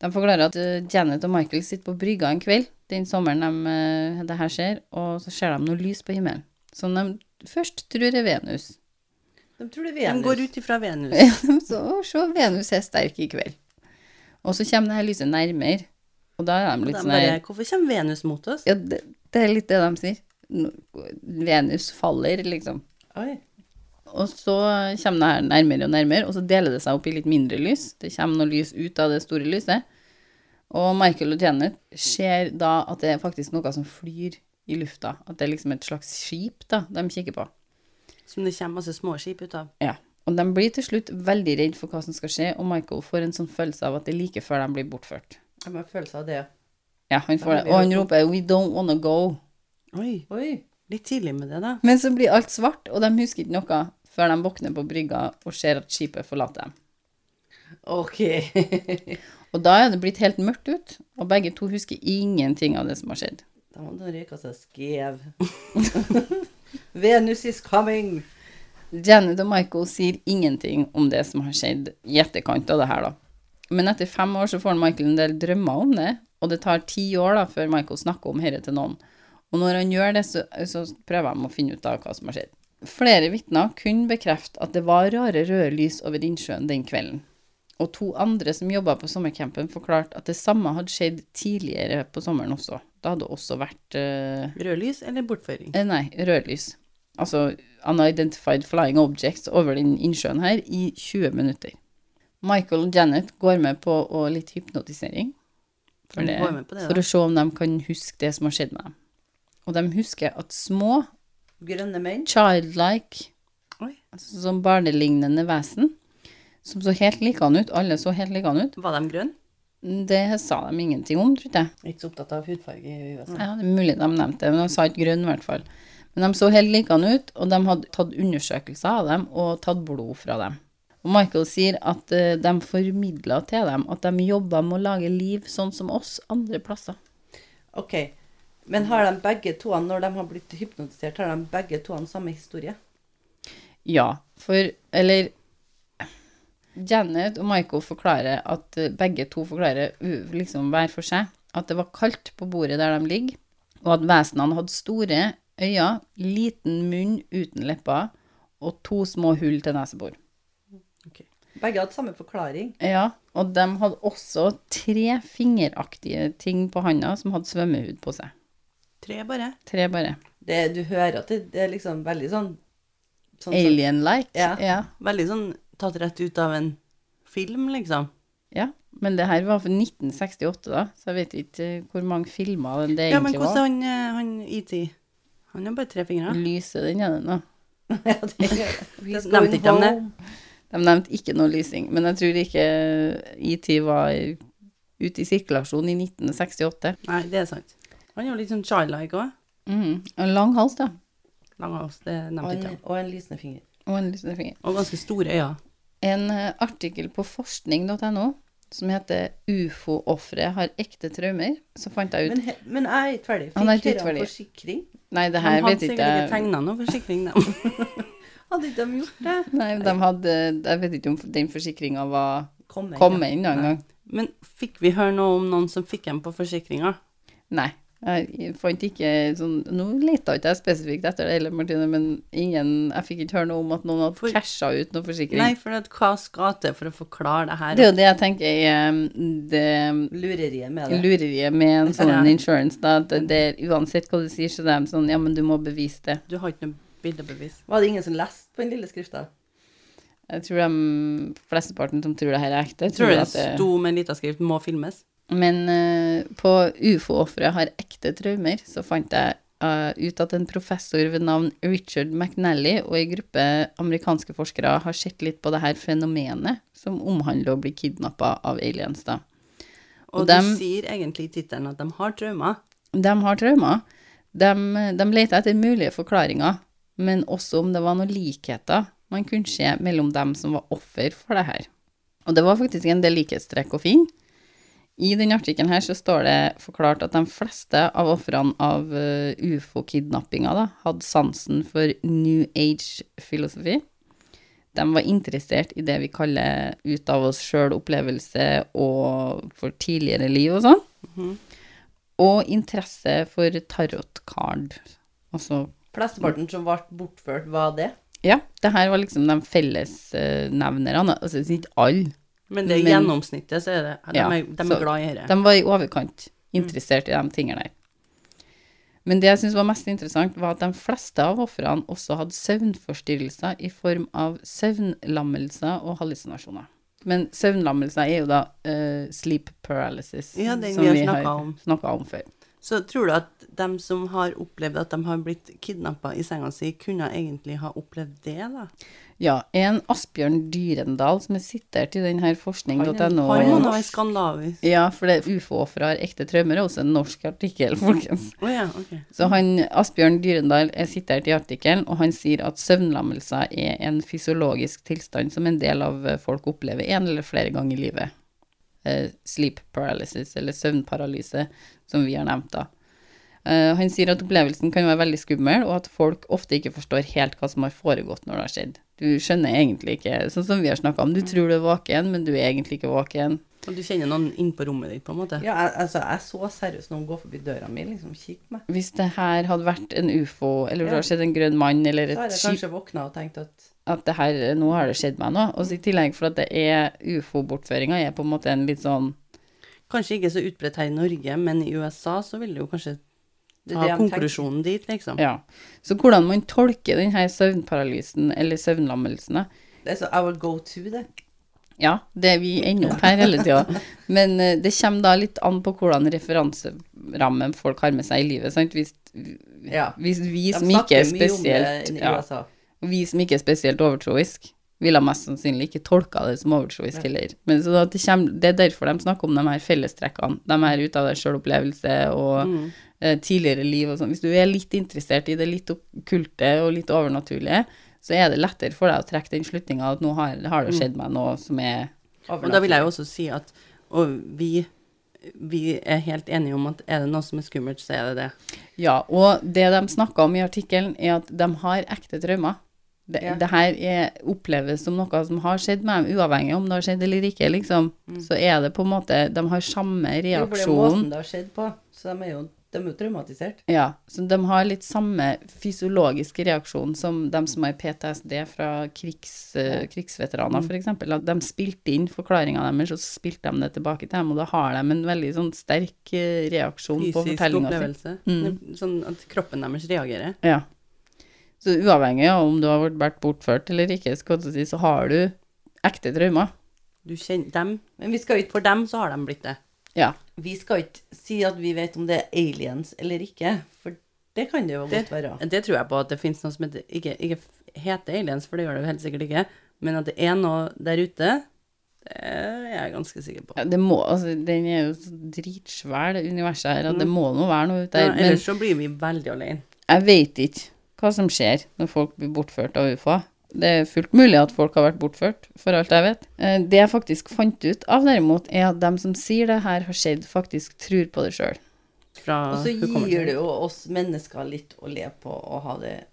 S1: De forklarer at eh, Janet og Michael sitter på brygga en kveld den sommeren de, eh, det her skjer, og så ser de noe lys på himmelen, som de først tror er Venus.
S3: De tror det er
S2: De
S3: Venus.
S2: går ut ifra Venus.
S1: så «Å, se, Venus er sterk i kveld. Og så kommer det her lyset nærmere, og da er
S2: Og
S1: de
S2: de
S1: litt sånn
S2: bare,
S1: her
S2: Hvorfor kommer Venus mot oss?
S1: Ja, det, det er litt det de sier. Nå- Venus faller, liksom.
S3: Oi.
S1: Og så kommer det her nærmere og nærmere, og så deler det seg opp i litt mindre lys. Det kommer noe lys ut av det store lyset. Og Michael og Janet ser da at det er faktisk noe som flyr i lufta. At det er liksom et slags skip da, de kikker på.
S2: Som det kommer masse småskip ut av.
S1: Ja. Og de blir til slutt veldig redd for hva som skal skje, og Michael får en sånn følelse av at det er like før de blir bortført.
S3: Jeg har en følelse av det.
S1: Ja, han får det. Og han roper 'We don't wanna go'.
S2: Oi,
S3: Oi.
S2: litt tidlig med det, da.
S1: Men så blir alt svart, og de husker ikke noe før de våkner på brygga og ser at skipet forlater dem.
S3: Ok.
S1: Og da er det blitt helt mørkt ut, og begge to husker ingenting av det som har skjedd.
S3: Da må de røyke seg skev. Venus is coming!
S1: Janet og Michael sier ingenting om det som har skjedd i etterkant av det her, da. Men etter fem år så får Michael en del drømmer om det, og det tar ti år da før Michael snakker om dette til noen. Og når han gjør det, så, så prøver de å finne ut av hva som har skjedd. Flere vitner kunne bekrefte at det var rare røde lys over innsjøen den kvelden. Og to andre som jobba på sommercampen, forklarte at det samme hadde skjedd tidligere på sommeren også. Det hadde også vært eh,
S2: Rødlys eller bortføring?
S1: Eh, Nei, rødlys. Altså unidentified flying objects over den innsjøen her i 20 minutter. Michael og Janet går med på å litt hypnotisering for,
S2: De
S1: det,
S2: går med på det, da.
S1: for å se om de kan huske det som har skjedd med dem. Og de husker at små,
S3: Grønne menn.
S1: childlike,
S2: Oi.
S1: altså som barnelignende vesen, som så helt likende ut, alle så helt likende ut,
S2: Var de grønne?
S1: det sa de ingenting om, tror jeg.
S3: Jeg er ikke så opptatt av hudfarge i
S2: altså.
S3: USA.
S1: Ja, det er mulig de nevnte det, men de sa ikke grønn i hvert fall. Men de så helt likende ut, og de hadde tatt undersøkelser av dem og tatt blod fra dem. Og Michael sier at eh, de formidla til dem at de jobba med å lage liv sånn som oss andre plasser.
S3: Ok. Men har de begge to, når de har blitt hypnotisert, har de begge to samme historie?
S1: Ja, for Eller Janet og Michael forklarer at eh, Begge to forklarer u- liksom hver for seg at det var kaldt på bordet der de ligger, og at vesenene hadde store øyne, liten munn uten lepper og to små hull til nesebor.
S3: Begge hadde samme forklaring.
S1: Ja, og de hadde også tre fingeraktige ting på handa som hadde svømmehud på seg.
S2: Tre bare.
S1: Tre bare.
S3: Det, du hører at det, det er liksom veldig sånn, sånn som-
S1: Alien-like.
S3: Ja.
S1: ja.
S2: Veldig sånn tatt rett ut av en film, liksom.
S1: Ja, men det her var for 1968 da, så jeg vet ikke eh, hvor mange filmer det
S2: Ja, men
S1: egentlig
S2: hvordan
S1: var.
S2: han, eh, han IT? Han har bare tre fingre.
S1: Lyset den er det nå.
S3: Ja, det gjør det.
S2: He's
S3: Going
S2: nevnte ikke han det.
S3: home.
S1: De nevnte ikke noe lysing, men jeg tror ikke IT var ute i sirkulasjon i 1968.
S2: Nei, det er sant. Han er jo litt sånn childlike òg.
S1: Mhm, En lang hals da,
S2: Lang hals, det
S3: Og
S2: nevnte ikke
S3: en,
S2: han.
S3: og en lysende finger.
S1: og en lysende finger.
S2: Og ganske store øyne.
S1: En eh, artikkel på forskning.no som heter 'Ufo-ofre har ekte traumer', så fant jeg ut
S3: Men, he, men jeg er ikke ferdig.
S1: Han er
S3: Fikk
S1: ikke
S3: dere
S1: ferdig.
S3: forsikring?
S1: Nei, det
S2: De
S1: her
S2: hadde
S1: vet
S2: sikkert
S1: ikke
S2: ikke
S1: jeg.
S2: tegna noe forsikring, de.
S3: Hadde ikke de gjort det?
S1: Nei, de hadde Jeg vet ikke om den forsikringa var
S3: Kom
S1: Kom inn en gang.
S2: Men fikk vi høre noe om noen som fikk dem på forsikringa?
S1: Nei. Jeg fant ikke sånn Nå leta ikke jeg spesifikt etter det heller, Martine, men ingen Jeg fikk ikke høre noe om at noen hadde
S2: For-
S1: casha ut noe forsikring.
S2: Nei, for at hva skal til for å forklare det her?
S1: Det er jo det jeg tenker er um, det
S3: Lureriet med det.
S1: lureriet med en sånn
S2: Ja.
S1: insurance, da, at det, det, uansett hva du sier, så det er de sånn Ja, men du må bevise det.
S2: Du har ikke noe bildebevis.
S3: Var det ingen som leste på den lille skrifta?
S1: Jeg tror de flesteparten som tror det her er ekte,
S2: Jeg tror det
S1: at det-
S2: sto med en liten skrift 'må filmes'.
S1: Men eh, på ufo-offeret har ekte traumer, så fant jeg eh, ut at en professor ved navn Richard McNally og en gruppe amerikanske forskere har sett litt på det her fenomenet som omhandler å bli kidnappa av aliens, da.
S2: Og,
S1: Og
S2: du
S1: dem-
S2: sier egentlig i tittelen at de har traumer.
S1: De har traumer. De, de leter etter mulige forklaringer, men også om det var noen likheter man kunne se mellom dem som var offer for det her. Og det var faktisk en del likhetstrekk å finne. I denne artikkelen her så står det forklart at de fleste av ofrene av eh, ufo-kidnappinga da, hadde sansen for New Age-filosofi. De var interessert i det vi kaller ut av oss sjøl-opplevelse og for tidligere liv og sånn. Og interesse for tarotkard. Altså
S3: Flesteparten som ble bortført, var det?
S1: Ja, det her var liksom de fellesnevnerne. Altså det er ikke alle.
S2: Men det er
S1: Men-
S2: gjennomsnittet, så er det. De,
S1: Ja,
S2: er, de
S1: så-
S2: er glad i dette.
S1: De var i overkant interessert i de tingene der. Men det jeg syns var mest interessant, var at de fleste av ofrene også hadde søvnforstyrrelser i form av søvnlammelser og hallusinasjoner. Men søvnlammelser er jo da eh, sleep paralysis,
S2: Ja, den vi har snakket om.
S1: snakka om før.
S2: Så tror du at de som har opplevd at de har blitt kidnappa i senga si, kunne egentlig ha opplevd det, da?
S1: Ja, en Asbjørn Dyrendal som er sitert i denne forskning.no.
S2: Han må nå være skandinavisk.
S1: Ja, for det ufo-ofre har ekte traumer er også en norsk artikkel, folkens.
S2: Å ja, ok.
S1: Så han, Asbjørn Dyrendal er sitert i artikkelen, og han sier at søvnlammelser er en fysiologisk tilstand som en del av eh, folk opplever en eller flere ganger i livet. Eh, sleep paralysis, eller søvnparalyse, som vi har nevnt da. Eh, han sier at opplevelsen kan være veldig skummel, og at folk ofte ikke forstår helt hva som har foregått når det har skjedd. Du skjønner egentlig ikke, sånn som vi har snakka om, du tror du er vaken, men du er egentlig ikke vaken.
S2: Og du kjenner noen inn på rommet ditt, på en måte?
S3: Ja, jeg, altså, jeg så seriøst noen gå forbi døra mi, liksom kikke meg.
S1: Hvis det her hadde vært en ufo, eller det
S3: Ja.
S1: hadde skjedd en grønn mann, eller
S3: Så har
S1: et
S3: jeg
S1: skip
S3: kanskje våkna og tenkt at
S1: at det her, Nå har det skjedd meg noe. Og så i tillegg for at det er ufo-bortføringa, er på en måte en litt sånn
S2: Kanskje ikke så utbredt her i Norge, men i USA så vil du jo kanskje
S3: det
S2: ta
S3: er det de tenker.
S2: konklusjonen dit, liksom.
S1: Ja. Så hvordan man tolker denne søvnparalysen, eller søvnlammelsene,
S3: Det er så altså, I will go to, det.
S1: Ja, det vi ender opp her hele tida. Men eh, det kommer da litt an på hvordan referanserammen folk har med seg i livet. sant? Hvis,
S3: Ja.
S1: hvis vi
S3: De
S1: som ikke er
S3: snakker mye om det
S1: spesielt
S3: i
S1: ja,
S3: USA.
S1: vi som ikke er spesielt overtroisk, ville mest sannsynlig ikke tolka det som overtroisk heller. Men så at det, kommer, det er derfor de snakker om de her fellestrekkene. De her ut av deg sjøl-opplevelse og eh, tidligere liv og sånn. Hvis du er litt interessert i det litt okkulte og litt overnaturlige, så er det lettere for deg å trekke den slutninga at nå har, har det skjedd meg noe som er
S2: Og da vil jeg jo også si at og vi, vi er helt enige om at er det noe som er skummelt, så er det det.
S1: Ja, og det de snakka om i artikkelen, er at de har ekte traumer. Det,
S3: Ja.
S1: det her er, oppleves som noe som har skjedd med dem, uavhengig om det har skjedd eller ikke, liksom. Så er det på en måte De har samme
S3: Jo, for Mm. det er måten
S1: reaksjon.
S3: det har skjedd på, så de er jo, de er jo traumatisert.
S1: Ja, så de har litt samme fysiologiske reaksjon som de som har PTSD fra krigs, eh,
S3: Mm.
S1: krigsveteraner, f.eks. De spilte inn forklaringa deres, og så spilte de det tilbake til dem, og da har de en veldig sånn sterk eh, reaksjon på
S2: Fysisk
S1: fortellinga si. Mm.
S2: opplevelse. Sånn at kroppen deres reagerer.
S1: Ja. Så uavhengig av om du har vært- vært bortført eller ikke, skal jeg til å si, så har du ekte traumer.
S2: Du kjenner dem.
S3: Men vi skal jo ikke
S2: For dem så har de blitt det.
S1: Ja.
S3: vi skal ikke si at vi vet om det er aliens eller ikke, for det kan det jo
S2: Det,
S3: godt være.
S2: det tror jeg på at det finnes noe som heter, ikke, ikke heter aliens, for det gjør det jo helt sikkert ikke, men at det er noe der ute, det er jeg ganske sikker på.
S1: Ja, Det må, altså, den er jo så dritsvær, det universet her, at det må nå være noe ute
S2: Ja,
S1: der. Men
S2: ellers så blir vi veldig alene.
S1: jeg vet ikke hva som skjer når folk blir bortført av UFA. Det er fullt mulig at folk har vært bortført, for alt jeg vet. Eh, Det jeg faktisk fant ut av, derimot, er at dem som sier det her har skjedd, faktisk tror på det sjøl.
S2: Fra
S3: Og så
S2: hukommelsen.
S3: gir det jo oss mennesker litt å leve på og ha det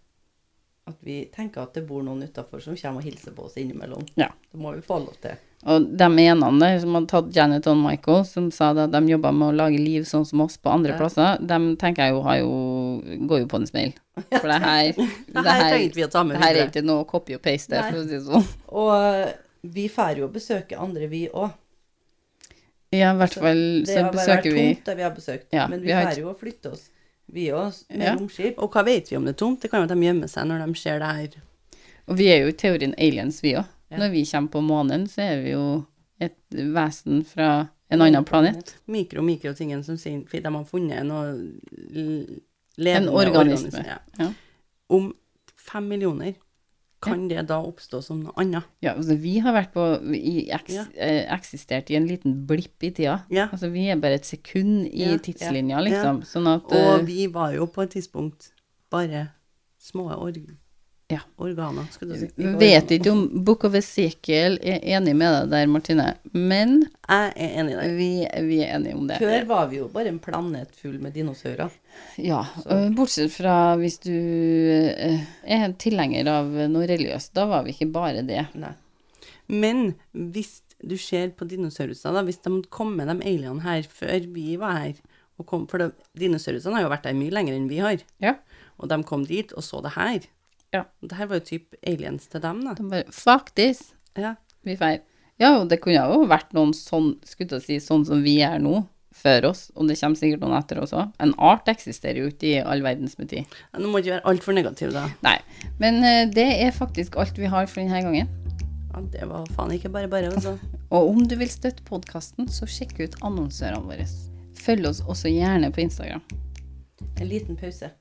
S3: At vi tenker at det bor noen utafor som kommer og hilser på oss innimellom.
S1: Ja.
S3: Det må vi få lov til.
S1: Og de ene der som hadde tatt Janet og Michael, som sa det at de jobba med å lage liv sånn som oss på andre
S3: Ja.
S1: plasser, dem tenker jeg jo, har jo går jo på en smell. For det her,
S2: Det
S1: det
S2: her
S1: her,
S2: trengte vi å ta med
S1: det her er
S2: videre.
S1: ikke noe copy og paste,
S3: Nei.
S1: for å si det sånn.
S3: Og eh, vi drar jo og besøker andre, vi òg.
S1: Ja, i hvert fall
S3: Det
S1: så
S3: har bare vært
S1: besøker vi
S3: tomt der vi har besøkt.
S1: Ja,
S3: men
S1: vi
S3: vi
S1: har
S3: drar
S1: ikke-
S3: jo og flytter oss, vi òg, med
S1: Ja.
S3: romskip.
S2: Og hva vet vi om det er tomt? Det kan jo at de gjemmer seg når de ser det her.
S1: Og vi er jo i teorien aliens, vi òg.
S3: Ja.
S1: Når vi kommer på månen, så er vi jo et vesen fra en annen planet.
S2: Mikro-mikrotingen som sier fordi de har funnet noe l-
S1: En
S2: levende
S1: organisme.
S2: organisme, ja.
S1: Ja.
S2: Om fem millioner, kan det da oppstå som noe annet?
S1: Ja, altså vi har vært på i eks,
S2: Ja.
S1: eh, Eksistert i en liten blipp i tida.
S2: Ja.
S1: Altså vi er bare et sekund i
S2: Ja, ja,
S1: tidslinja, liksom. Sånn at eh,
S2: Og vi var jo på et tidspunkt bare små org
S1: Ja.
S2: organer, skulle du si.
S1: Vi vet ikke om Book of Ezekiel er enig med deg der, Martine, men
S2: liksom- Jeg er enig i deg.
S1: vi, vi er enige om det.
S3: Før var vi jo bare en planet full med dinosaurer.
S1: Ja, øh, bortsett fra hvis du øh, er en tilhenger av noe religiøst, da var vi ikke bare det.
S3: Nei.
S2: Men hvis du ser på dinosauruser, da, hvis de kom med de alienene her før vi var her og kom, For det- dinosaurusene har jo vært her mye lenger enn vi har.
S1: Ja.
S2: Og de kom dit og så det her.
S1: Ja.
S2: Og det her var jo type aliens til dem, da.
S1: De bare Fuck this!
S2: Ja.
S1: Vi feir. Ja, og det kunne jo vært noen sånn, skulle jeg til å si, sånn som vi er nå, før oss, og det kommer sikkert noen etter oss òg. En art eksisterer jo ikke i all verdens butikk.
S2: Ja, Nå må du ikke være altfor negativ, da.
S1: Nei. Men øh, det er faktisk alt vi har for denne gangen.
S2: Ja, det var faen ikke bare bare, altså.
S1: Og om du vil støtte podkasten, så sjekk ut annonsørene våre. Følg oss også gjerne på Instagram.
S3: En liten pause.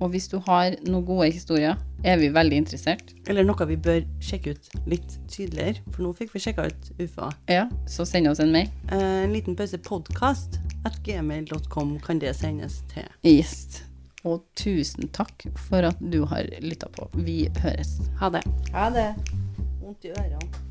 S1: Og hvis du har noen gode historier, er vi veldig interessert.
S2: Eller noe vi bør sjekke ut litt tydeligere, for nå fikk vi sjekka ut UFA.
S1: Ja, så send oss en mail.
S2: Eh, en liten pause podkast at gmail.com kan det sendes til.
S1: Yes. Og tusen takk for at du har lytta på. Vi høres.
S2: Ha det.
S3: Ha det. Vondt i ørene.